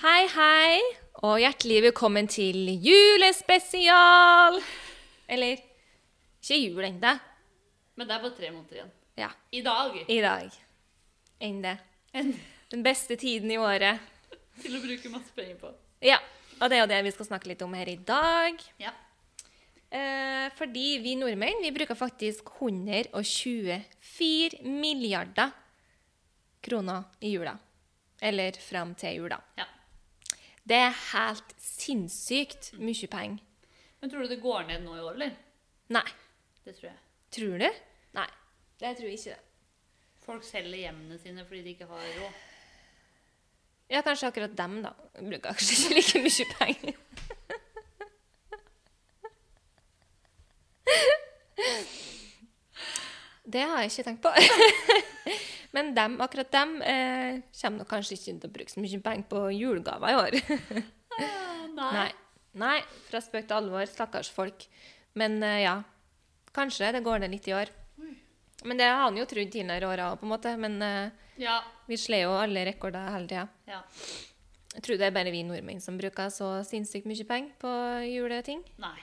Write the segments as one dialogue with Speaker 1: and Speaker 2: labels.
Speaker 1: Hei, hei, og hjertelig velkommen til julespesial! Eller ikke jul ennå.
Speaker 2: Men det er bare tre måneder igjen.
Speaker 1: Ja,
Speaker 2: I dag!
Speaker 1: i dag. Enn det. Den beste tiden i året.
Speaker 2: Til å bruke masse penger på.
Speaker 1: Ja, og det er jo det vi skal snakke litt om her i dag.
Speaker 2: Ja.
Speaker 1: Eh, fordi vi nordmenn vi bruker faktisk 124 milliarder kroner i jula. Eller fram til jula.
Speaker 2: ja.
Speaker 1: Det er helt sinnssykt mye penger.
Speaker 2: Men tror du det går ned nå i år, eller?
Speaker 1: Nei.
Speaker 2: Det tror jeg.
Speaker 1: Tror du? Nei, det tror jeg ikke det.
Speaker 2: Folk selger hjemmene sine fordi de ikke har råd.
Speaker 1: Ja, kanskje akkurat dem, da. Bruker kanskje ikke like mye penger. Det har jeg ikke tenkt på. Men dem, akkurat dem eh, kommer nok kanskje ikke til å bruke så mye penger på julegaver i år. Nei. Nei, fra spøk til alvor. Stakkars folk. Men eh, ja, kanskje det går ned litt i år.
Speaker 2: Oi.
Speaker 1: Men det har han jo trodd tidligere år òg, på en måte. Men eh,
Speaker 2: Ja.
Speaker 1: vi slår jo alle rekorder hele tida.
Speaker 2: ja.
Speaker 1: Jeg tror det er bare vi nordmenn som bruker så sinnssykt mye penger på juleting.
Speaker 2: Nei.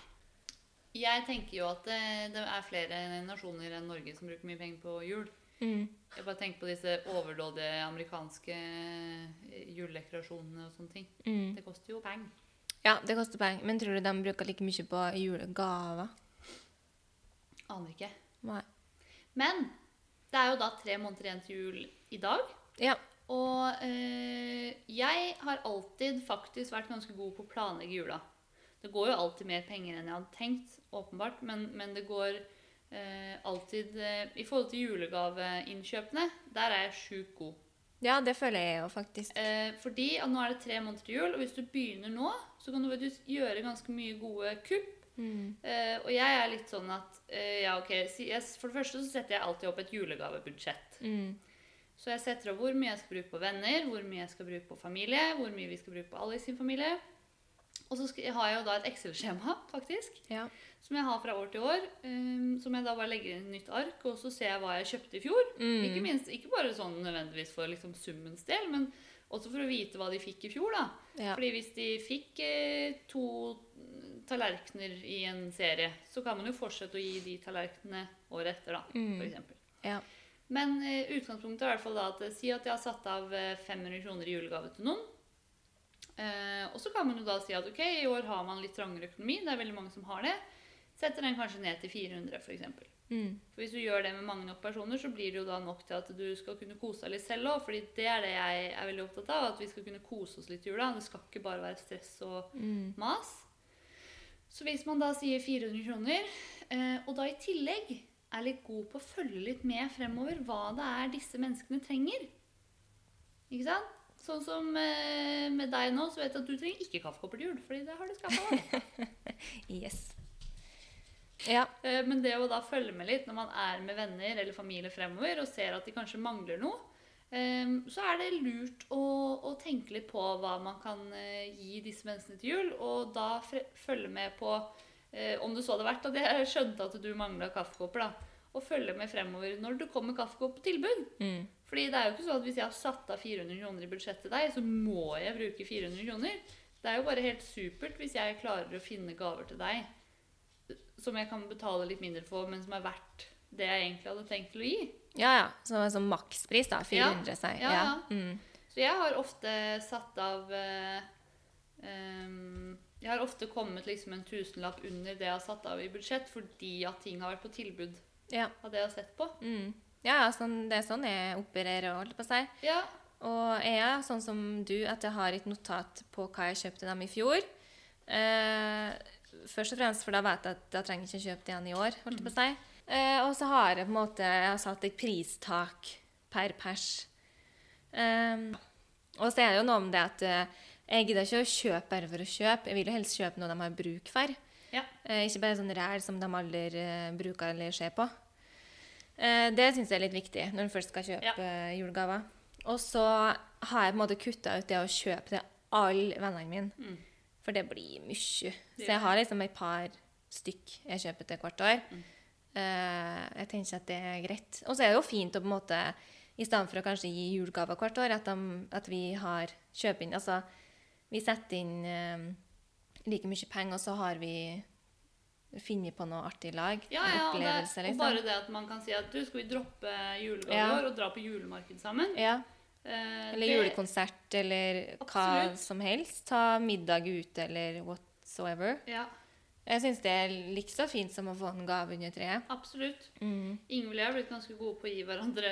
Speaker 2: Jeg tenker jo at det, det er flere nasjoner enn Norge som bruker mye penger på jul.
Speaker 1: Mm,
Speaker 2: Jeg bare tenker på disse overdådige amerikanske eh, juledekorasjonene og sånne ting.
Speaker 1: mm.
Speaker 2: Det koster jo penger.
Speaker 1: Ja, det koster penger, men tror du de bruker like mye på julegaver?
Speaker 2: Aner ikke.
Speaker 1: Nei.
Speaker 2: Men det er jo da tre måneder igjen til jul i dag.
Speaker 1: Ja.
Speaker 2: Og eh, jeg har alltid faktisk vært ganske god på å planlegge jula. Det går jo alltid mer penger enn jeg hadde tenkt, åpenbart, men, men det går eh, alltid eh, I forhold til julegaveinnkjøpene, der er jeg sjukt god.
Speaker 1: ja, det føler jeg jo faktisk.
Speaker 2: Eh, fordi at nå er det tre måneder til jul, og hvis du begynner nå, så kan du faktisk gjøre ganske mye gode kupp.
Speaker 1: Mm,
Speaker 2: Eh, og jeg er litt sånn at eh, ja, ok, si- jeg, For det første så setter jeg alltid opp et julegavebudsjett.
Speaker 1: Mm.
Speaker 2: Så jeg setter opp hvor mye jeg skal bruke på venner, hvor mye jeg skal bruke på familie, hvor mye vi skal bruke på Alex sin familie. Og så skal, har jeg jo da et Excel-skjema, faktisk,
Speaker 1: Ja.
Speaker 2: som jeg har fra år til år. ehm, som jeg da bare legger inn i nytt ark, og så ser jeg hva jeg kjøpte i fjor.
Speaker 1: Mm,
Speaker 2: Ikke minst, ikke bare sånn nødvendigvis for liksom summens del, men også for å vite hva de fikk i fjor, da.
Speaker 1: Ja.
Speaker 2: Fordi hvis de fikk eh, to tallerkener i en serie, så kan man jo fortsette å gi de tallerkenene året etter, da,
Speaker 1: Mm.
Speaker 2: for eksempel.
Speaker 1: ja.
Speaker 2: Men eh, utgangspunktet er i hvert fall da at eh, si at jeg har satt av eh, 500 kroner i julegave til noen. Eh, og så kan man jo da si at ok, i år har man litt trangere økonomi. Det er veldig mange som har det. Setter den kanskje ned til 400, f.eks. For,
Speaker 1: Mm.
Speaker 2: for hvis du gjør det med mange nok personer, så blir det jo da nok til at du skal kunne kose deg litt selv òg. fordi det er det jeg er veldig opptatt av. At vi skal kunne kose oss litt i jula. Det skal ikke bare være stress og
Speaker 1: Mm.
Speaker 2: mas. Så hvis man da sier 400 kroner, eh, og da i tillegg er litt god på å følge litt med fremover hva det er disse menneskene trenger Ikke sant? Sånn som eh, med deg nå, så vet jeg at du trenger ikke kaffekopper til jul, fordi det har du skaffa.
Speaker 1: Yes. Ja.
Speaker 2: Eh, Men det å da følge med litt når man er med venner eller familie fremover og ser at de kanskje mangler noe, eh, så er det lurt å, å tenke litt på hva man kan eh, gi disse menneskene til jul, og da fre- følge med på eh, Om du så hadde vært at jeg skjønte at du mangla kaffekopper, da. Og følge med fremover når det kommer kaffekopp på tilbud.
Speaker 1: Mm.
Speaker 2: Fordi det er jo ikke sånn at hvis jeg har satt av 400 kroner i budsjettet til deg, så må jeg bruke 400 kroner. Det er jo bare helt supert hvis jeg klarer å finne gaver til deg som jeg kan betale litt mindre for, men som er verdt det jeg egentlig hadde tenkt til å gi.
Speaker 1: ja, ja. Så altså, makspris, da. 400, sier
Speaker 2: Ja, ja.
Speaker 1: Mm.
Speaker 2: Så jeg har ofte satt av eh, ehm, Jeg har ofte kommet liksom en tusenlapp under det jeg har satt av i budsjett, fordi at ting har vært på tilbud
Speaker 1: ja.
Speaker 2: av det jeg har sett på.
Speaker 1: Mm. Ja, ja, sånn, det er sånn jeg opererer, holdt på å si.
Speaker 2: Ja,
Speaker 1: Og jeg er sånn som du, at jeg har et notat på hva jeg kjøpte dem i fjor. Eh, først og fremst, for da vet jeg at da trenger jeg ikke kjøpe det igjen i år. holdt jeg på å si. Eh, og så har jeg på en måte jeg har satt et pristak per pers. Eh, og så er det jo noe om det at eh, jeg gidder ikke å kjøpe bare for å kjøpe. Jeg vil jo helst kjøpe noe de har bruk for.
Speaker 2: ja,
Speaker 1: Eh, ikke bare sånn ræl som de aldri eh, bruker eller ser på. Eh, det syns jeg er litt viktig når en først skal kjøpe
Speaker 2: Ja.
Speaker 1: eh, julegaver. Og så har jeg på en måte kutta ut det å kjøpe til alle vennene mine.
Speaker 2: Mm.
Speaker 1: For det blir mye.
Speaker 2: Det Mm.
Speaker 1: Så jeg
Speaker 2: gjør
Speaker 1: har liksom et par stykk jeg kjøper til hvert år. Eh, jeg tenker at det er greit. Og så er det jo fint å på en måte i stedet for å kanskje gi julegaver hvert år, at, de, at vi har kjøper inn altså, vi setter inn eh, like mye penger, og så har vi funnet på noe artig i lag.
Speaker 2: Ja, ja, og,
Speaker 1: Opplevelse,
Speaker 2: det, og
Speaker 1: liksom.
Speaker 2: bare det at man kan si at du, skal vi droppe julegave i
Speaker 1: Ja.
Speaker 2: år og dra på julemarked sammen?
Speaker 1: ja.
Speaker 2: Eh,
Speaker 1: Eller julekonsert, eller hva
Speaker 2: Absolutt.
Speaker 1: som helst. Ta middag ute, eller whatsoever.
Speaker 2: Ja,
Speaker 1: Jeg syns det er like så fint som å få en gave under treet.
Speaker 2: absolutt.
Speaker 1: Mm.
Speaker 2: Ingvild og jeg har blitt ganske gode på å gi hverandre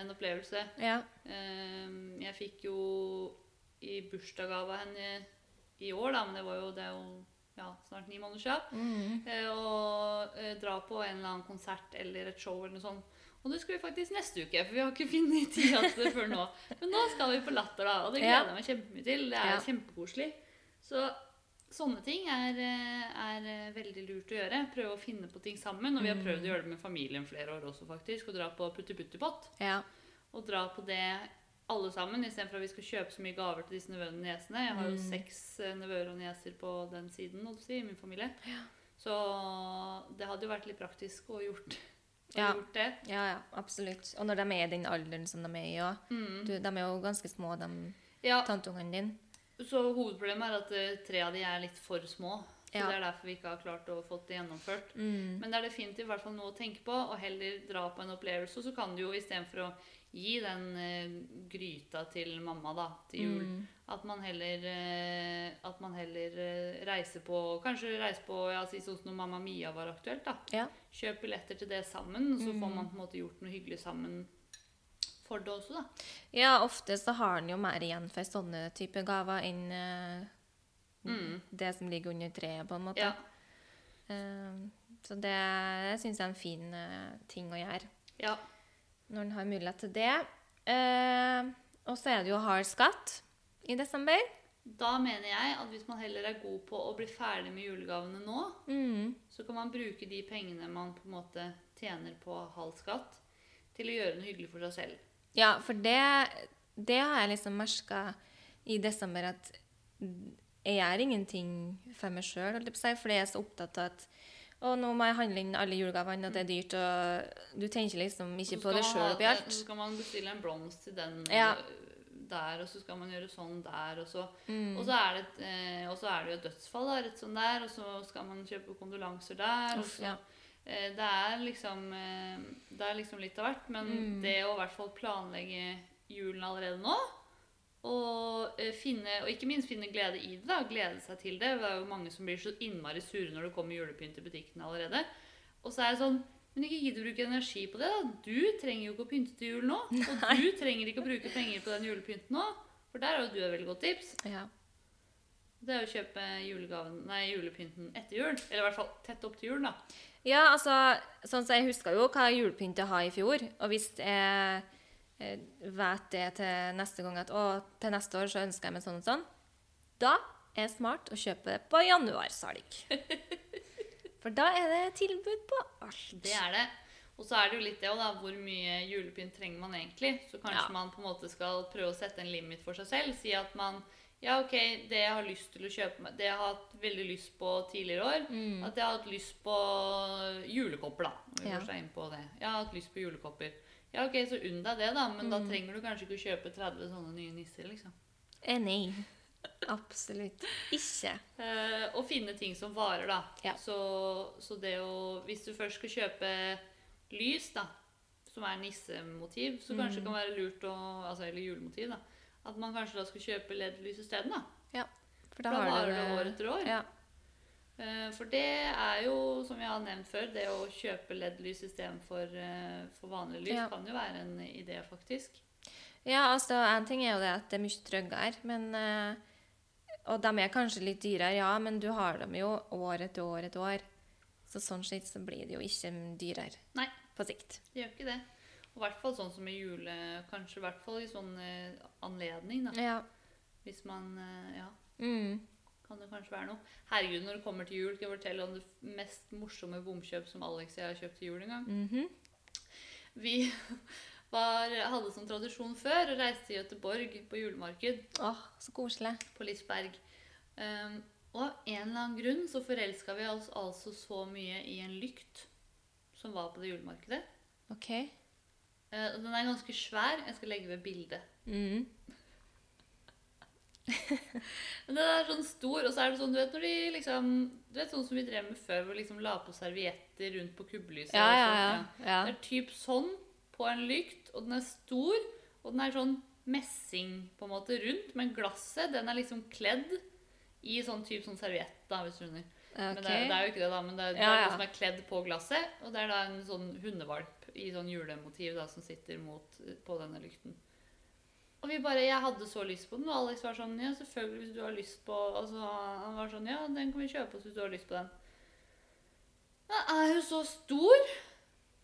Speaker 2: en opplevelse.
Speaker 1: Ja.
Speaker 2: Eh, Jeg fikk jo i bursdagsgave av henne i år, da, men det var jo, det er jo ja, snart ni måneder siden.
Speaker 1: Mm.
Speaker 2: eh, og eh, dra på en eller annen konsert eller et show eller noe sånt. Og det skal vi faktisk neste uke, for vi har ikke funnet tida til det før nå. Men nå skal vi på Latter, da, og det
Speaker 1: Ja.
Speaker 2: gleder jeg meg kjempemye til. Det er
Speaker 1: Ja.
Speaker 2: kjempekoselig. Så sånne ting er, eh, er eh, veldig lurt å gjøre. Prøve å finne på ting sammen. Og vi har
Speaker 1: Mm.
Speaker 2: prøvd å gjøre det med familien flere år også, faktisk. Og dra på putti-putti-pott.
Speaker 1: ja.
Speaker 2: Og dra på det alle sammen, istedenfor at vi skal kjøpe så mye gaver til disse nevøene og niesene. Jeg har jo
Speaker 1: Mm.
Speaker 2: seks eh, nevøer og nieser på den siden holdt jeg på å si, i min familie. Så det hadde jo vært litt praktisk å gjort, å
Speaker 1: Ja.
Speaker 2: gjort det.
Speaker 1: Ja, ja, absolutt. Og når de er i den alderen som de er i òg.
Speaker 2: Mm.
Speaker 1: De er jo ganske små, de
Speaker 2: Ja,
Speaker 1: tanteungene dine.
Speaker 2: så hovedproblemet er at eh, tre av de er litt for små. Så
Speaker 1: Ja.
Speaker 2: Det er derfor vi ikke har klart å få det gjennomført.
Speaker 1: Mm.
Speaker 2: Men det er definitivt i hvert fall noe å tenke på, og heller dra på en opplevelse. Og så kan du jo istedenfor å gi den eh, gryta til mamma da, til
Speaker 1: Mm.
Speaker 2: jul, at man heller, eh, at man heller eh, reiser på Kanskje reise på ja, si sånn som når Mamma Mia var aktuelt. da.
Speaker 1: Ja.
Speaker 2: Kjøp billetter til det sammen, og så får man på en måte gjort noe hyggelig sammen for det også, da.
Speaker 1: ja, ofte så har en jo mer igjen for sånne type gaver enn eh, det som ligger under treet, på en måte.
Speaker 2: Mm. Ja,
Speaker 1: Eh, så det, det syns jeg er en fin eh, ting å gjøre.
Speaker 2: ja.
Speaker 1: når en har mulighet til det. Eh, og så er det jo hard skatt i desember.
Speaker 2: Da mener jeg at hvis man heller er god på å bli ferdig med julegavene nå,
Speaker 1: Mm.
Speaker 2: så kan man bruke de pengene man på en måte tjener på halv skatt, til å gjøre noe hyggelig for seg selv.
Speaker 1: Ja, for det, det har jeg liksom merka i desember at jeg gjør ingenting for meg sjøl, fordi jeg er så opptatt av at å, nå må jeg handle inn alle julegavene, og det er dyrt, og du tenker liksom
Speaker 2: Så
Speaker 1: ikke på
Speaker 2: skal
Speaker 1: det
Speaker 2: man
Speaker 1: sjøl
Speaker 2: ha
Speaker 1: oppi
Speaker 2: et-
Speaker 1: alt.
Speaker 2: Så skal man bestille en blomst til den
Speaker 1: Ja.
Speaker 2: øh, der, og så skal man gjøre sånn der, og så,
Speaker 1: Mm.
Speaker 2: og så, er, det et, eh, og så er det jo et dødsfall da, rett sånn der, og så skal man kjøpe kondolanser der. og
Speaker 1: Uff,
Speaker 2: så,
Speaker 1: ja.
Speaker 2: eh, det, er liksom, eh, det er liksom litt av hvert, men det å i hvert fall planlegge julen allerede nå, og, eh, finne, og ikke minst finne glede i det, da, glede seg til det. Det er jo mange som blir så innmari sure når det kommer julepynt i butikken allerede. Og så er det sånn Men ikke gidd å bruke energi på det. da. Du trenger jo ikke å pynte til jul nå. Og du trenger ikke å bruke penger på den julepynten nå. For der har jo du et veldig godt tips.
Speaker 1: Ja.
Speaker 2: Det er å kjøpe julegaven, nei, julepynten etter jul. Eller i hvert fall tett opp til jul, da.
Speaker 1: Ja, altså, sånn som jeg husker jo hva julepynt jeg har i fjor, og hvis jeg eh, vet det til neste gang at å, til neste år så ønsker jeg meg sånn og sånn, da er det smart å kjøpe det på januarsalg. For da er det tilbud på alt.
Speaker 2: Det er det. Og så er det jo litt det òg, da. Hvor mye julepynt trenger man egentlig? Så kanskje
Speaker 1: Ja.
Speaker 2: man på en måte skal prøve å sette en limit for seg selv. Si at man Ja, OK, det jeg har lyst til å kjøpe meg Det jeg har hatt veldig lyst på tidligere år, at jeg har hatt lyst på julekopper, da. Om vi
Speaker 1: Mm. Ja.
Speaker 2: først er inne på det. Jeg har hatt lyst på julekopper. Ja, OK, så unn deg det, da. Men
Speaker 1: Mm.
Speaker 2: da trenger du kanskje ikke å kjøpe 30 sånne nye nisser, liksom.
Speaker 1: Eh, nei. Absolutt ikke.
Speaker 2: Eh, og finne ting som varer, da.
Speaker 1: Ja.
Speaker 2: Så, så det å Hvis du først skal kjøpe lys, da, som er nissemotiv,
Speaker 1: Mm.
Speaker 2: så kanskje det kan være lurt å Altså, eller julemotiv, da. At man kanskje da skal kjøpe LED-lys isteden, da.
Speaker 1: Ja. For
Speaker 2: Da,
Speaker 1: da har
Speaker 2: varer
Speaker 1: du
Speaker 2: det år etter år.
Speaker 1: Ja.
Speaker 2: Eh, for det er jo, som jeg har nevnt før, det å kjøpe LED-lys istedenfor uh, for vanlig lys
Speaker 1: Ja.
Speaker 2: kan jo være en idé, faktisk.
Speaker 1: Ja, altså, en ting er jo det at det er mye tryggere, men eh, Og de er kanskje litt dyrere, ja, men du har dem jo år etter år etter år. Så sånn sett så blir det jo ikke dyrere
Speaker 2: Nei.
Speaker 1: på sikt.
Speaker 2: Det gjør ikke det. Og i hvert fall sånn som i jule... Kanskje i hvert fall i sånn eh, anledning, da.
Speaker 1: Ja.
Speaker 2: Hvis man eh, Ja.
Speaker 1: Mm.
Speaker 2: kan det kanskje være noe. Herregud, når det kommer til jul, skal jeg fortelle om det f- mest morsomme bomkjøp som Alex og jeg har kjøpt til jul en gang.
Speaker 1: Mhm.
Speaker 2: Vi var, hadde som tradisjon før å reise til Gøteborg på julemarked
Speaker 1: Åh, så koselig.
Speaker 2: på Lisberg. Um, og av en eller annen grunn så forelska vi oss altså så mye i en lykt som var på det julemarkedet.
Speaker 1: OK.
Speaker 2: Eh, og den er ganske svær. Jeg skal legge ved bildet.
Speaker 1: Mm.
Speaker 2: Men Den er sånn stor, og så er det sånn du vet, når de liksom, du vet sånn som vi drev med før, hvor vi liksom la på servietter rundt på kubbelyset.
Speaker 1: Ja,
Speaker 2: og
Speaker 1: ja,
Speaker 2: sånn,
Speaker 1: ja. ja.
Speaker 2: Det er typ sånn på en lykt, og den er stor, og den er sånn messing på en måte rundt, men glasset, den er liksom kledd i sånn typ sånn serviett, da, hvis du skjønner. Men det, er- det
Speaker 1: Ok.
Speaker 2: er jo ikke det, da, men det er, det
Speaker 1: Ja,
Speaker 2: er
Speaker 1: ja.
Speaker 2: noe som er kledd på glasset, og det er da en sånn hundevalp i sånn julemotiv da, som sitter mot, på denne lykten. Og vi bare, jeg hadde så lyst på den, og Alex var sånn, ja, selvfølgelig hvis du har lyst på, altså, han var sånn, ja, den kan vi kjøpe oss hvis du har lyst på den. Den er jo så stor,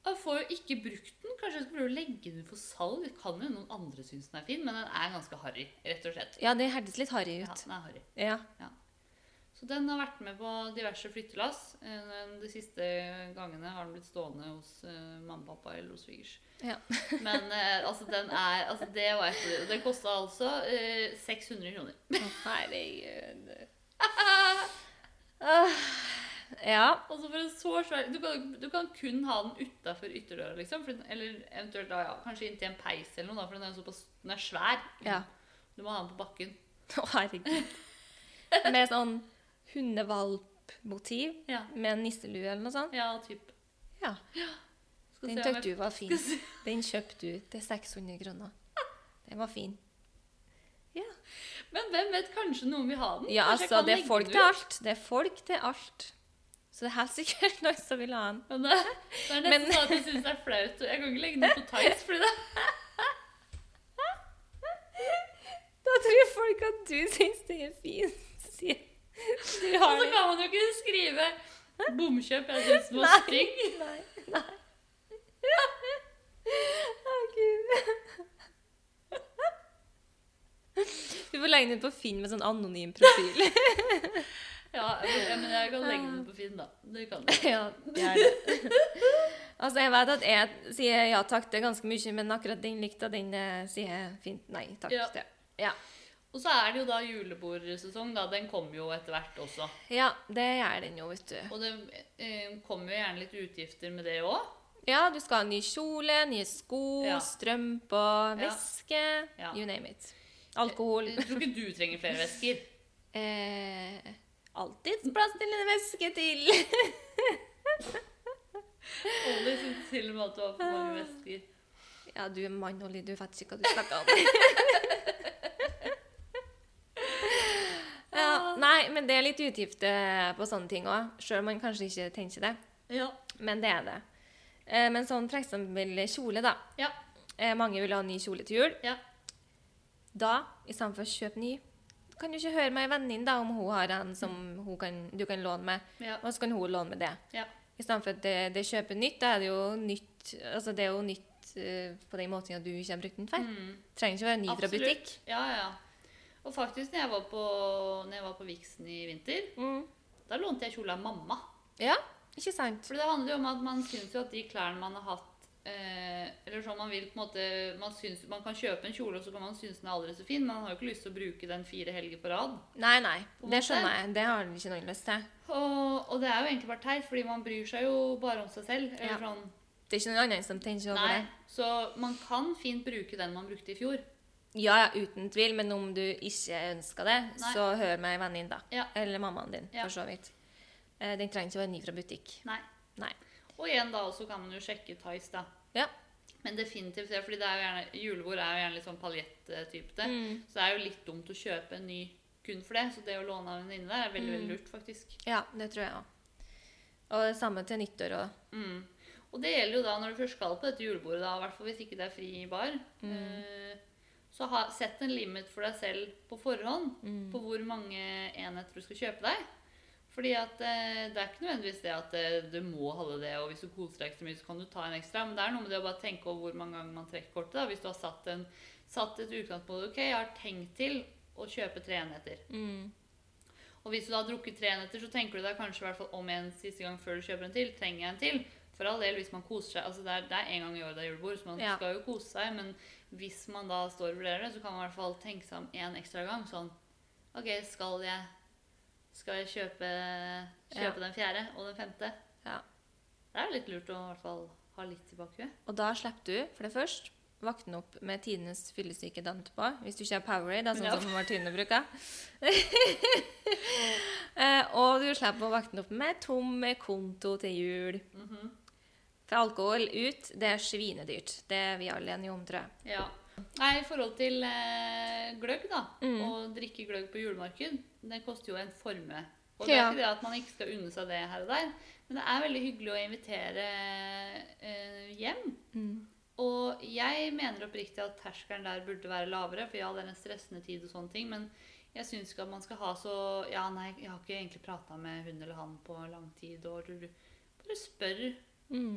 Speaker 2: og jeg får jo ikke brukt den, kanskje jeg skal prøve å legge den ut for salg, det kan jo noen andre synes den er fin, men den er ganske harry, rett og slett.
Speaker 1: Ja, det herdes litt harry
Speaker 2: Ja,
Speaker 1: ut.
Speaker 2: den er harry.
Speaker 1: Ja.
Speaker 2: Så den har vært med på diverse flyttelass. Eh, De siste gangene har den blitt stående hos eh, mamma og pappa eller hos svigers.
Speaker 1: Ja.
Speaker 2: Men eh, altså, den er altså, Det var et og Det kosta altså eh, 600 kroner.
Speaker 1: Å, herregud. Åh, ja.
Speaker 2: Altså for en så svær Du kan, du kan kun ha den utafor ytterdøra, liksom. For, den- eller eventuelt da, ja, kanskje inntil en peis eller noe, da, for den er, jo såpass, den er svær.
Speaker 1: ja.
Speaker 2: Du må ha den på bakken.
Speaker 1: Å, herregud. Med sånn hundevalpmotiv
Speaker 2: Ja,
Speaker 1: med en nisselue eller noe sånt.
Speaker 2: ja typ.
Speaker 1: Ja. Den
Speaker 2: Skal se om jeg-
Speaker 1: syntes du var fin.
Speaker 2: skal se-
Speaker 1: Den kjøpte du til 600 kroner. Den var fin.
Speaker 2: Men hvem vet? Kanskje noen vil ha den?
Speaker 1: Ja,
Speaker 2: Kanskje jeg
Speaker 1: altså,
Speaker 2: kan
Speaker 1: det er
Speaker 2: legge
Speaker 1: folk
Speaker 2: den
Speaker 1: til
Speaker 2: ut?
Speaker 1: alt. Det er folk til alt. Så det er helt sikkert noen som vil ha den.
Speaker 2: Men det, det er nesten
Speaker 1: Men-
Speaker 2: sånn at jeg syns det er flaut. Jeg kan ikke legge den ut på Tice. fordi det
Speaker 1: Da tror folk at du syns det er fin. sier- Du
Speaker 2: Og
Speaker 1: har
Speaker 2: så
Speaker 1: det.
Speaker 2: kan man jo ikke skrive 'bomkjøp', jeg syns den var stygg.
Speaker 1: Nei. Nei. Å, Gud. Du får legge den ut på Finn med sånn anonym profil.
Speaker 2: Ja, ja, men jeg kan legge den ut på Finn, da. Det kan jeg.
Speaker 1: ja, det er det. Altså, jeg vet at jeg sier ja takk til ganske mye, men akkurat den likte jeg, den eh, sier jeg fint nei takk
Speaker 2: Ja.
Speaker 1: til. Ja.
Speaker 2: Og så er det jo da julebordsesong, da. Den kommer jo etter hvert også.
Speaker 1: ja, det gjør den jo, vet du.
Speaker 2: Og det eh, kommer jo gjerne litt utgifter med det òg.
Speaker 1: Ja, du skal ha ny kjole, nye sko,
Speaker 2: Ja.
Speaker 1: strømper,
Speaker 2: Ja.
Speaker 1: væske,
Speaker 2: Ja.
Speaker 1: you name it. Alkohol.
Speaker 2: Jeg tror ikke du trenger flere vesker.
Speaker 1: Eh, alltid plass til en veske til.
Speaker 2: Ollie syns til og med at du har for mange vesker.
Speaker 1: Ja, du er mann, Olli, du vet ikke hva du snakker om. ja, nei, men det er litt utgifter på sånne ting òg, sjøl om man kanskje ikke tenker det.
Speaker 2: Ja.
Speaker 1: Men det er det. Eh, Men sånn for eksempel kjole, da.
Speaker 2: Ja.
Speaker 1: Eh, Mange vil ha ny kjole til jul.
Speaker 2: Ja.
Speaker 1: Da, i stedet for å kjøpe ny, kan du ikke høre med ei venninne da, om hun har en som hun kan, du kan låne med,
Speaker 2: Ja.
Speaker 1: og så kan hun låne med det.
Speaker 2: ja.
Speaker 1: I stedet for at det, det kjøper nytt, da er det jo nytt altså det er jo nytt eh, på den måten at du ikke har brukt den før.
Speaker 2: Mm.
Speaker 1: Trenger ikke være ny fra
Speaker 2: Absolutt.
Speaker 1: butikk.
Speaker 2: Ja, ja. Og faktisk, når jeg var på, når jeg var på Vixen i vinter, da lånte jeg kjole av mamma.
Speaker 1: Ja, ikke sant?
Speaker 2: For det handler jo om at man syns jo at de klærne man har hatt eh, Eller sånn man vil på en måte man, syns, man kan kjøpe en kjole, og så kan man synes den er aldri så fin, men man har jo ikke lyst til å bruke den fire helger på rad.
Speaker 1: Nei, nei.
Speaker 2: På en
Speaker 1: Det
Speaker 2: måte.
Speaker 1: skjønner jeg. Det har han ikke noe lyst til.
Speaker 2: Og, og det er jo egentlig bare teit, fordi man bryr seg jo bare om seg selv. Eller
Speaker 1: Ja.
Speaker 2: sånn,
Speaker 1: Det er ikke noen annen som tenker over
Speaker 2: nei.
Speaker 1: det.
Speaker 2: Så man kan fint bruke den man brukte i fjor.
Speaker 1: Ja, ja, uten tvil, men om du ikke ønsker det,
Speaker 2: Nei.
Speaker 1: så hør med ei venninne, da.
Speaker 2: Ja.
Speaker 1: Eller mammaen din,
Speaker 2: Ja.
Speaker 1: for så vidt. Eh, Den trenger ikke være ny fra butikk.
Speaker 2: Nei.
Speaker 1: Nei.
Speaker 2: Og igjen da også kan man jo sjekke Tice, da.
Speaker 1: Ja.
Speaker 2: Men definitivt det, fordi det er jo gjerne, julebord er jo gjerne litt sånn paljettype. det.
Speaker 1: Mm.
Speaker 2: Så det er jo litt dumt å kjøpe en ny kun for det. Så det å låne av en venninne der er veldig veldig lurt, faktisk.
Speaker 1: Ja, det tror jeg òg. Og det samme til nyttår òg.
Speaker 2: Mm. Og det gjelder jo da når du først skal på dette julebordet, da, i hvert fall hvis ikke det er fri bar. Eh, så ha, sett en limit for deg selv på forhånd på hvor mange enheter du skal kjøpe deg. Fordi at eh, det er ikke nødvendigvis det at eh, du må holde det, og hvis du koser deg ekstra mye, så kan du ta en ekstra. Men det er noe med det å bare tenke over hvor mange ganger man trekker kortet. da, Hvis du har satt, en, satt et utgangspunkt Ok, jeg har tenkt til å kjøpe tre enheter.
Speaker 1: Mm.
Speaker 2: Og hvis du da har drukket tre enheter, så tenker du deg kanskje i hvert fall om en siste gang før du kjøper en til. Trenger jeg en til? For all del, hvis man koser seg. Altså det er, det er en gang i året det er julebord, så man
Speaker 1: Ja.
Speaker 2: skal jo kose seg. Men hvis man da står og vurderer det, så kan man i hvert fall tenke seg om én ekstra gang. Sånn OK, skal jeg, skal jeg kjøpe, kjøpe
Speaker 1: Ja.
Speaker 2: den fjerde og den femte?
Speaker 1: Ja.
Speaker 2: Det er jo litt lurt å i hvert fall ha litt i bakhuet.
Speaker 1: Og da slipper du, for det først, våkne opp med tidenes fyllesyke dagen etterpå. Hvis du ikke har Powerade, da, sånn
Speaker 2: Ja.
Speaker 1: som Martine bruker. Eh, og du slipper å våkne opp med tom konto til jul.
Speaker 2: Mhm.
Speaker 1: For alkohol ut, det er svinedyrt. Det er vi alle enige om, tror jeg.
Speaker 2: Ja. Nei, i forhold til eh, gløgg, da. Å drikke gløgg på julemarked, det koster jo en formue. Og det er
Speaker 1: Ja.
Speaker 2: ikke det at man ikke skal unne seg det her og der, men det er veldig hyggelig å invitere eh, hjem. Og jeg mener oppriktig at terskelen der burde være lavere, for ja, det er en stressende tid og sånne ting, men jeg syns ikke at man skal ha så Ja, nei, jeg har ikke egentlig prata med hun eller han på lang tid, og du- du- Bare spør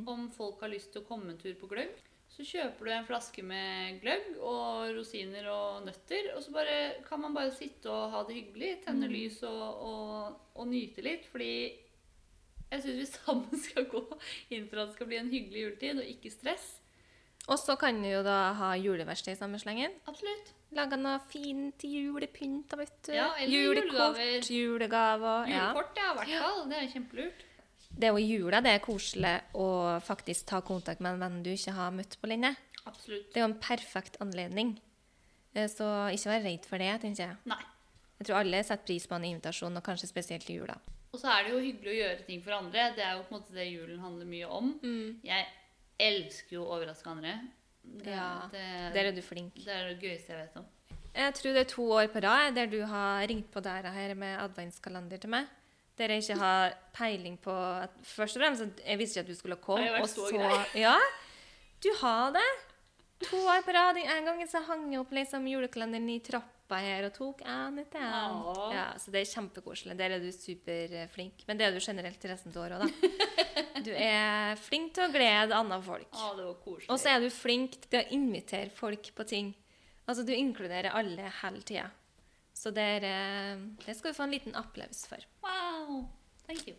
Speaker 2: om folk har lyst til å komme en tur på gløgg, så kjøper du en flaske med gløgg og rosiner og nøtter, og så bare, kan man bare sitte og ha det hyggelig, tenne lys og, og, og nyte litt, fordi jeg syns vi sammen skal gå inn for at det skal bli en hyggelig juletid, og ikke stress.
Speaker 1: Og så kan du jo da ha juleverksted i samme slengen.
Speaker 2: Absolutt.
Speaker 1: Lage noe fint julepynt, da, vet du.
Speaker 2: Ja, eller
Speaker 1: Julekort,
Speaker 2: julegaver.
Speaker 1: julegaver. Ja.
Speaker 2: Julekort, ja, i hvert fall. Det er jo kjempelurt.
Speaker 1: Det er jo i jula det er koselig å faktisk ta kontakt med en venn du ikke har møtt på lenge.
Speaker 2: Absolutt.
Speaker 1: Det er jo en perfekt anledning. Eh, Så ikke vær redd for det, tenker jeg.
Speaker 2: Nei.
Speaker 1: Jeg tror alle setter pris på en invitasjon, og kanskje spesielt i jula.
Speaker 2: Og så er det jo hyggelig å gjøre ting for andre. Det er jo på en måte det julen handler mye om. Jeg elsker jo å overraske andre. Det, eh,
Speaker 1: Ja,
Speaker 2: det,
Speaker 1: Der er du flink.
Speaker 2: det er det gøyeste jeg vet om.
Speaker 1: Jeg tror det er to år på rad der du har ringt på døra her med adventskalender til meg. Der jeg ikke har peiling på at, Først og fremst at jeg visste ikke at du skulle komme.
Speaker 2: Har jeg vært
Speaker 1: og
Speaker 2: så
Speaker 1: Ja, du har det. To år på rad. En gang så hang jeg opp liksom julekalenderen i trappa her og tok en etter en.
Speaker 2: Ja.
Speaker 1: Ja, så det er kjempekoselig. Der er du superflink. Men det er du generelt til resten av året òg, da. Du er flink til å glede andre folk.
Speaker 2: Å, det var koselig.
Speaker 1: Og så er du flink til å invitere folk på ting. Altså, du inkluderer alle hele tida. Så det, er, eh, det skal du få en liten applaus for.
Speaker 2: Wow! Thank you.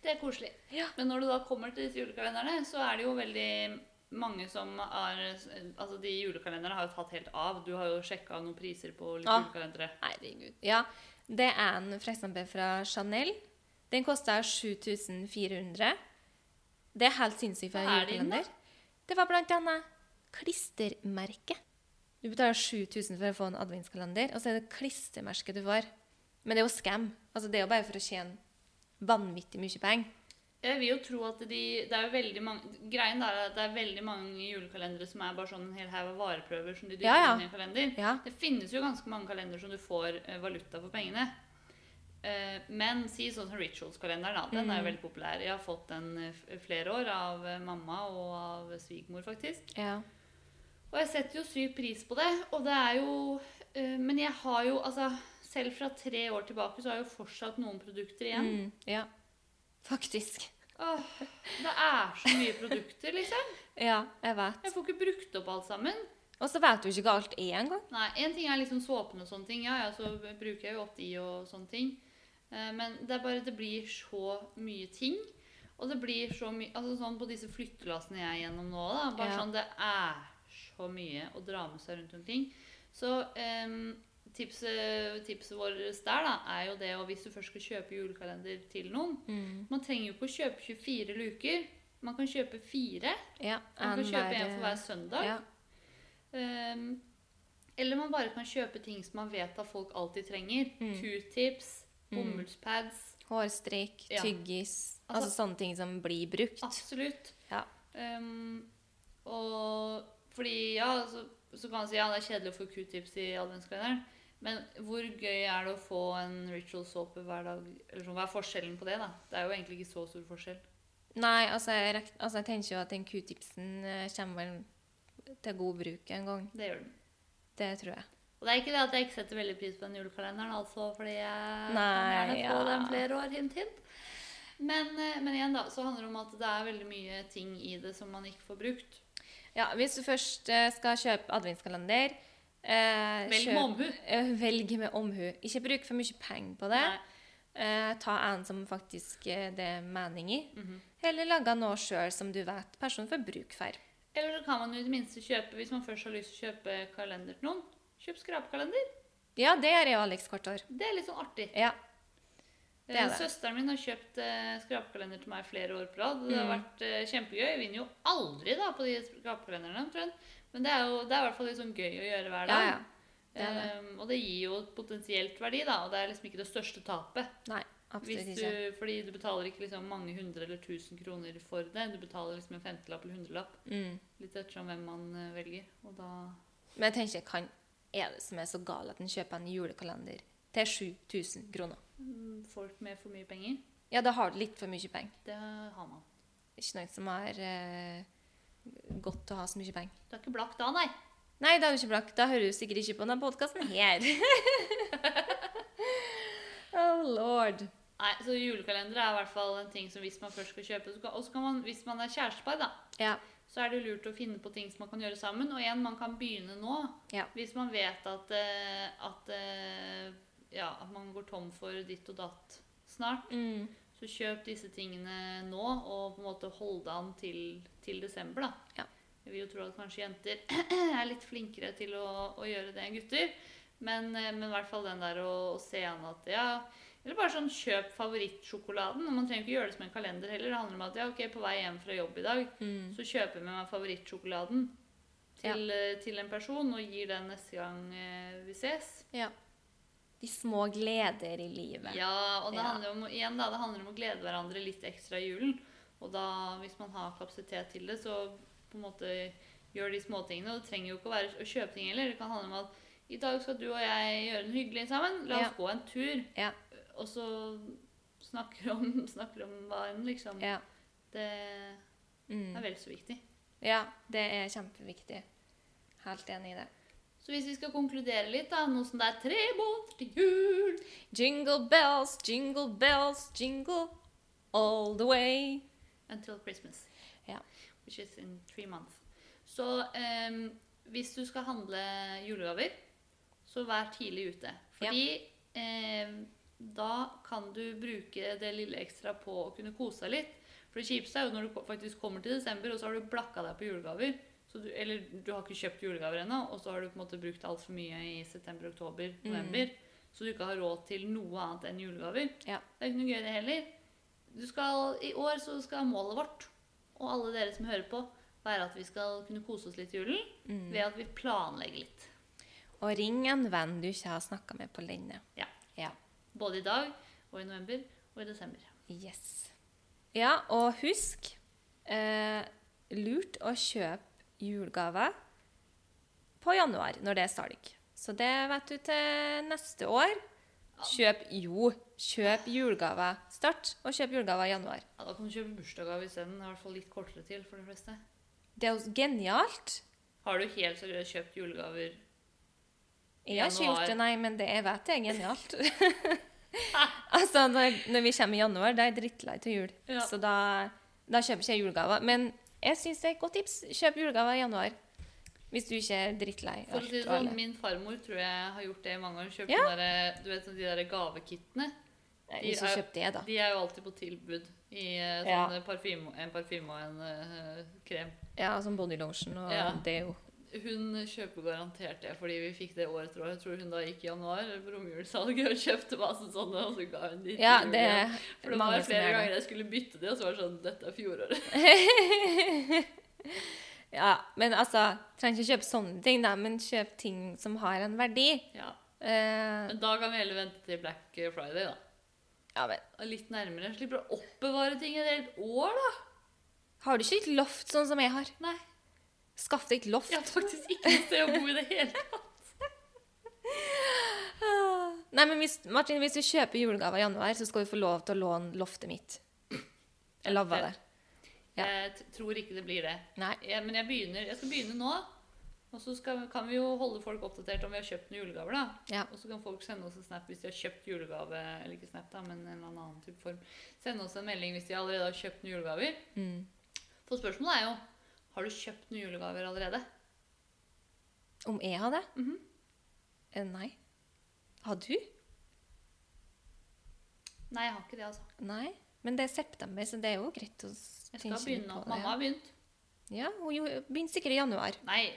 Speaker 2: Det er koselig.
Speaker 1: Ja.
Speaker 2: Men når du da kommer til disse julekalenderne, så er det jo veldig mange som er Altså, de julekalenderne har jo tatt helt av. Du har jo sjekka noen priser på litt
Speaker 1: Ja.
Speaker 2: julekalendere.
Speaker 1: Herregud. Ja, det er en for eksempel fra Chanel. Den kosta 7400. Det er helt sinnssykt for en
Speaker 2: Hva er det i den da?
Speaker 1: julekalender. Det var blant annet klistremerke. Du betaler 7000 for å få en adventskalender, og så er det klistremerket du får. Men det er jo scam. Altså, det er jo bare for å tjene vanvittig mye penger.
Speaker 2: Jeg vil jo tro at de det er jo veldig mange, Greien er at det er veldig mange julekalendere som er bare sånn en hel haug av vareprøver som de dytter
Speaker 1: Ja, ja.
Speaker 2: inn i en kalender.
Speaker 1: Ja.
Speaker 2: Det finnes jo ganske mange kalendere som du får eh, valuta for pengene. Eh, Men si sånn som Rituals-kalenderen, da. Den er jo veldig populær. Jeg har fått den eh, f- flere år av eh, mamma og av svigermor, faktisk.
Speaker 1: Ja.
Speaker 2: Og jeg setter jo syk pris på det, og det er jo eh, Men jeg har jo, altså Selv fra tre år tilbake så har jeg jo fortsatt noen produkter igjen.
Speaker 1: Mm, ja. Faktisk.
Speaker 2: Åh, det er så mye produkter, liksom.
Speaker 1: Ja, jeg vet.
Speaker 2: Jeg får ikke brukt opp alt sammen.
Speaker 1: Og så vet du ikke hva alt er engang.
Speaker 2: Nei, En ting er liksom såpen og sånne ting, ja, ja, så bruker jeg jo opp de og sånne ting. Eh, Men det er bare det blir så mye ting. Og det blir så mye altså sånn På disse flyttelassene jeg er gjennom nå, da, bare
Speaker 1: Ja.
Speaker 2: sånn, det er så mye å dra med seg rundt omkring. Så eh, tipset, tipset vårt der da, er jo det å hvis du først skal kjøpe julekalender til noen
Speaker 1: Mm.
Speaker 2: Man trenger jo ikke å kjøpe 24 luker. Man kan kjøpe fire.
Speaker 1: Ja,
Speaker 2: Man kan
Speaker 1: en
Speaker 2: kjøpe
Speaker 1: hver- eh,
Speaker 2: en for hver søndag.
Speaker 1: Ja.
Speaker 2: Ehm, eller man bare kan kjøpe ting som man vet at folk alltid trenger. Q-tips, bomullspads.
Speaker 1: Hårstrikk,
Speaker 2: Ja.
Speaker 1: tyggis altså,
Speaker 2: Altså-
Speaker 1: sånne ting som blir brukt.
Speaker 2: Absolutt.
Speaker 1: Ja.
Speaker 2: Ehm, og fordi, ja, så, så kan man si ja, det er kjedelig å få Q-tips i adventskalenderen. Men hvor gøy er det å få en ritual-såpe hver dag? Eller sånn, Hva er forskjellen på det? da? Det er jo egentlig ikke så stor forskjell.
Speaker 1: Nei, altså jeg, rekt, altså jeg tenker jo at den q-tipsen eh, kommer vel til god bruk en gang.
Speaker 2: Det gjør den.
Speaker 1: Det tror jeg.
Speaker 2: Og det er ikke det at jeg ikke setter veldig pris på den julekalenderen, altså, fordi jeg kan
Speaker 1: Nei,
Speaker 2: gjerne få
Speaker 1: ja.
Speaker 2: den flere år, hint, hint. Men, eh, men igjen, da, så handler det om at det er veldig mye ting i det som man ikke får brukt.
Speaker 1: Ja, Hvis du først eh, skal kjøpe adventskalender eh,
Speaker 2: Velg med
Speaker 1: kjøp-
Speaker 2: omhu.
Speaker 1: eh, Velg med omhu. Ikke bruk for mye penger på det.
Speaker 2: Nei.
Speaker 1: Eh, ta en som faktisk eh, det er mening i. Eller lage noe sjøl som du vet personen får bruk for.
Speaker 2: Eller så kan man jo i det minste kjøpe, hvis man først har lyst til å kjøpe kalender til noen, kjøp skrapkalender.
Speaker 1: Ja, det gjør jeg og Alex hvert år.
Speaker 2: Det er litt sånn artig.
Speaker 1: Ja. Det er det.
Speaker 2: Søsteren min har kjøpt eh, skrapkalender til meg flere år på rad. Det har
Speaker 1: Mm.
Speaker 2: vært eh, kjempegøy. Jeg vinner jo aldri da, på de skrapkalenderne, omtrent. Men det er jo det er i hvert fall litt sånn gøy å gjøre hver
Speaker 1: Ja,
Speaker 2: dag.
Speaker 1: ja. Det er det.
Speaker 2: Ehm, og det gir jo et potensielt verdi, da. Og det er liksom ikke det største tapet.
Speaker 1: Nei,
Speaker 2: Hvis
Speaker 1: absolutt
Speaker 2: du,
Speaker 1: ikke.
Speaker 2: fordi du betaler ikke liksom mange hundre eller tusen kroner for det. Du betaler liksom en femtelapp eller hundrelapp.
Speaker 1: Mm.
Speaker 2: Litt ettersom hvem man eh, velger. Og da
Speaker 1: Men jeg tenker, hva er det som er så galt at en kjøper en julekalender til 7000 kroner?
Speaker 2: mm, folk med for mye penger,
Speaker 1: Ja, da har du litt for mye penger.
Speaker 2: det har man.
Speaker 1: Ikke noen som har eh, godt å ha så mye penger.
Speaker 2: Du er ikke blakk da, nei.
Speaker 1: Nei, da er du ikke blakk. Da hører du sikkert ikke på denne podkasten her. oh lord.
Speaker 2: Nei, så julekalendere er i hvert fall en ting som hvis man først skal kjøpe, så kan, og så kan man, hvis man er kjærestepar, da,
Speaker 1: Ja.
Speaker 2: så er det lurt å finne på ting som man kan gjøre sammen. Og igjen, man kan begynne nå.
Speaker 1: Ja.
Speaker 2: Hvis man vet at, eh, at, eh, ja, at man går tom for ditt og datt snart,
Speaker 1: Mm.
Speaker 2: så kjøp disse tingene nå, og på en måte hold det an til, til desember, da.
Speaker 1: Ja.
Speaker 2: Jeg vil jo tro at kanskje jenter er litt flinkere til å, å gjøre det enn gutter. Men, eh, men i hvert fall den der å, å se an at ja Eller bare sånn kjøp favorittsjokoladen. og Man trenger ikke gjøre det som en kalender heller. Det handler om at ja, ok, på vei hjem fra jobb i dag,
Speaker 1: Mm.
Speaker 2: så kjøper jeg med meg favorittsjokoladen til, eh, til en person og gir den neste gang eh, vi ses.
Speaker 1: ja. De små gleder i livet.
Speaker 2: Ja, og det
Speaker 1: Ja.
Speaker 2: handler om, igjen da, det handler om å glede hverandre litt ekstra i julen. Og da, hvis man har kapasitet til det, så på en måte gjør de småtingene. Og det trenger jo ikke å være å kjøpe ting heller. Det kan handle om at i dag skal du og jeg gjøre en hyggelig sammen. La oss
Speaker 1: Ja.
Speaker 2: gå en tur.
Speaker 1: Ja.
Speaker 2: Og så snakker om, snakker om hva enn, liksom.
Speaker 1: Ja.
Speaker 2: Det
Speaker 1: Mm.
Speaker 2: er vel så viktig.
Speaker 1: ja. Det er kjempeviktig. Helt enig i det.
Speaker 2: Så hvis vi skal konkludere litt, da, nå som det er tre måneder til jul
Speaker 1: Jingle bells, jingle bells, jingle all the way.
Speaker 2: Until Christmas.
Speaker 1: Ja.
Speaker 2: Which is in three months. Så ehm, hvis du skal handle julegaver, så vær tidlig ute. Fordi ehm, da kan du bruke det lille ekstra på å kunne kose deg litt. For det kjipeste er jo når du ko- faktisk kommer til desember, og så har du blakka deg på julegaver. Så du, eller du har ikke kjøpt julegaver ennå, og så har du på en måte brukt altfor mye i september, oktober,
Speaker 1: Mm.
Speaker 2: november. Så du ikke har råd til noe annet enn julegaver.
Speaker 1: Ja.
Speaker 2: Det er ikke noe gøy det heller. Du skal, I år så skal målet vårt, og alle dere som hører på, være at vi skal kunne kose oss litt i julen
Speaker 1: Mm.
Speaker 2: ved at vi planlegger litt.
Speaker 1: Og ring en venn du ikke har snakka med på lenge.
Speaker 2: Ja.
Speaker 1: Ja.
Speaker 2: Både i dag og i november og i desember.
Speaker 1: Yes. Ja, og husk eh, Lurt å kjøpe julegaver på januar, når det er salg. Så det vet du til neste år. Kjøp jo, kjøp julegaver. Start å kjøpe julegaver i januar.
Speaker 2: Ja, da kan du kjøpe bursdagsgave isteden. I hvert fall litt kortere til for de fleste.
Speaker 1: Det er jo genialt.
Speaker 2: Har du helt seriøst kjøpt julegaver?
Speaker 1: Jeg har ikke
Speaker 2: Januar.
Speaker 1: gjort det, nei, men det jeg vet jeg er genialt. altså, når, når vi kommer i januar, da er jeg drittlei til jul.
Speaker 2: Ja.
Speaker 1: Så da, da kjøper ikke jeg julegaver. Men jeg syns det er et godt tips. Kjøp julegaver i januar. Hvis du ikke er drittlei.
Speaker 2: For å si det
Speaker 1: og
Speaker 2: sånn,
Speaker 1: alle.
Speaker 2: Min farmor tror jeg har gjort det i mange år. Kjøpt
Speaker 1: Ja.
Speaker 2: sånne der, du vet, sånn de der gavekittene.
Speaker 1: Nei, Ikke kjøp det, da.
Speaker 2: De er jo alltid på tilbud i eh,
Speaker 1: Ja.
Speaker 2: sånne parfyme, en parfyme og en eh, krem.
Speaker 1: Ja, Som body lotion og
Speaker 2: Ja.
Speaker 1: deo.
Speaker 2: Hun kjøper garantert det, fordi vi fikk det år etter år. Jeg tror hun da gikk i januar på romjulssalget og kjøpte masse sånne, og så ga hun de til
Speaker 1: Ja,
Speaker 2: jul
Speaker 1: det
Speaker 2: igjen.
Speaker 1: er
Speaker 2: For det
Speaker 1: mange
Speaker 2: var
Speaker 1: som
Speaker 2: flere
Speaker 1: gjør det.
Speaker 2: ganger jeg skulle bytte de, og så var det sånn Dette er fjoråret.
Speaker 1: Ja, men altså, trenger ikke kjøpe sånne ting, da, men kjøp ting som har en verdi.
Speaker 2: Ja.
Speaker 1: Eh,
Speaker 2: Men da kan vi heller vente til Black Friday, da.
Speaker 1: ja, men
Speaker 2: Og Litt nærmere. Slipper å oppbevare ting et helt år, da.
Speaker 1: har du ikke et loft sånn som jeg har?
Speaker 2: Nei,
Speaker 1: Skaff deg et loft.
Speaker 2: jeg har faktisk ikke noe sted å bo i det hele tatt.
Speaker 1: Ah. Nei, men hvis, Martin, hvis du kjøper julegave i januar, så skal du få lov til å låne loftet mitt. Jeg lova det. Ja.
Speaker 2: Jeg t- tror ikke det blir det.
Speaker 1: Nei.
Speaker 2: Jeg, men jeg, begynner, jeg skal begynne nå. Og så skal, kan vi jo holde folk oppdatert om vi har kjøpt noen julegaver. da.
Speaker 1: Ja.
Speaker 2: Og så kan folk sende oss en snap hvis de har kjøpt julegave. Eller ikke snap da, men en eller annen type form. Sende oss en melding hvis de allerede har kjøpt noen julegaver.
Speaker 1: Mm.
Speaker 2: For spørsmålet er jo har du kjøpt noen julegaver allerede.
Speaker 1: Om jeg har det?
Speaker 2: Mhm.
Speaker 1: Eh, Nei. Har du?
Speaker 2: Nei, jeg har ikke det, altså.
Speaker 1: Nei. Men det er september, så det er jo greit å s-
Speaker 2: Jeg skal
Speaker 1: tenke litt
Speaker 2: begynne
Speaker 1: på
Speaker 2: nå.
Speaker 1: det,
Speaker 2: Mamma
Speaker 1: ja.
Speaker 2: har begynt.
Speaker 1: Ja, hun jo- begynner sikkert i januar.
Speaker 2: Nei.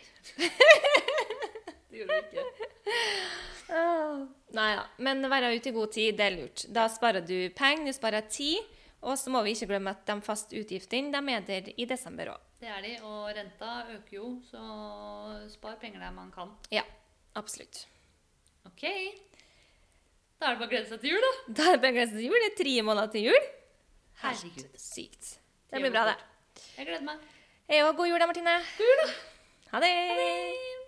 Speaker 2: Det gjorde vi ikke.
Speaker 1: Nei da. Men være ute i god tid, det er lurt. Da sparer du penger, du sparer tid. Og så må vi ikke glemme at de faste utgiftene de er der i desember òg.
Speaker 2: Det er de, og renta øker jo, så spar penger der man kan.
Speaker 1: Ja, absolutt.
Speaker 2: Ok. Da er det bare å glede seg til jul, da.
Speaker 1: Da er det bare å glede seg til jul. Det er tre måneder til jul.
Speaker 2: Herregud.
Speaker 1: Helt sykt. Det blir bra, det.
Speaker 2: Jeg gleder meg.
Speaker 1: Jeg òg. God jul da, Martine. God jul da. Ha det.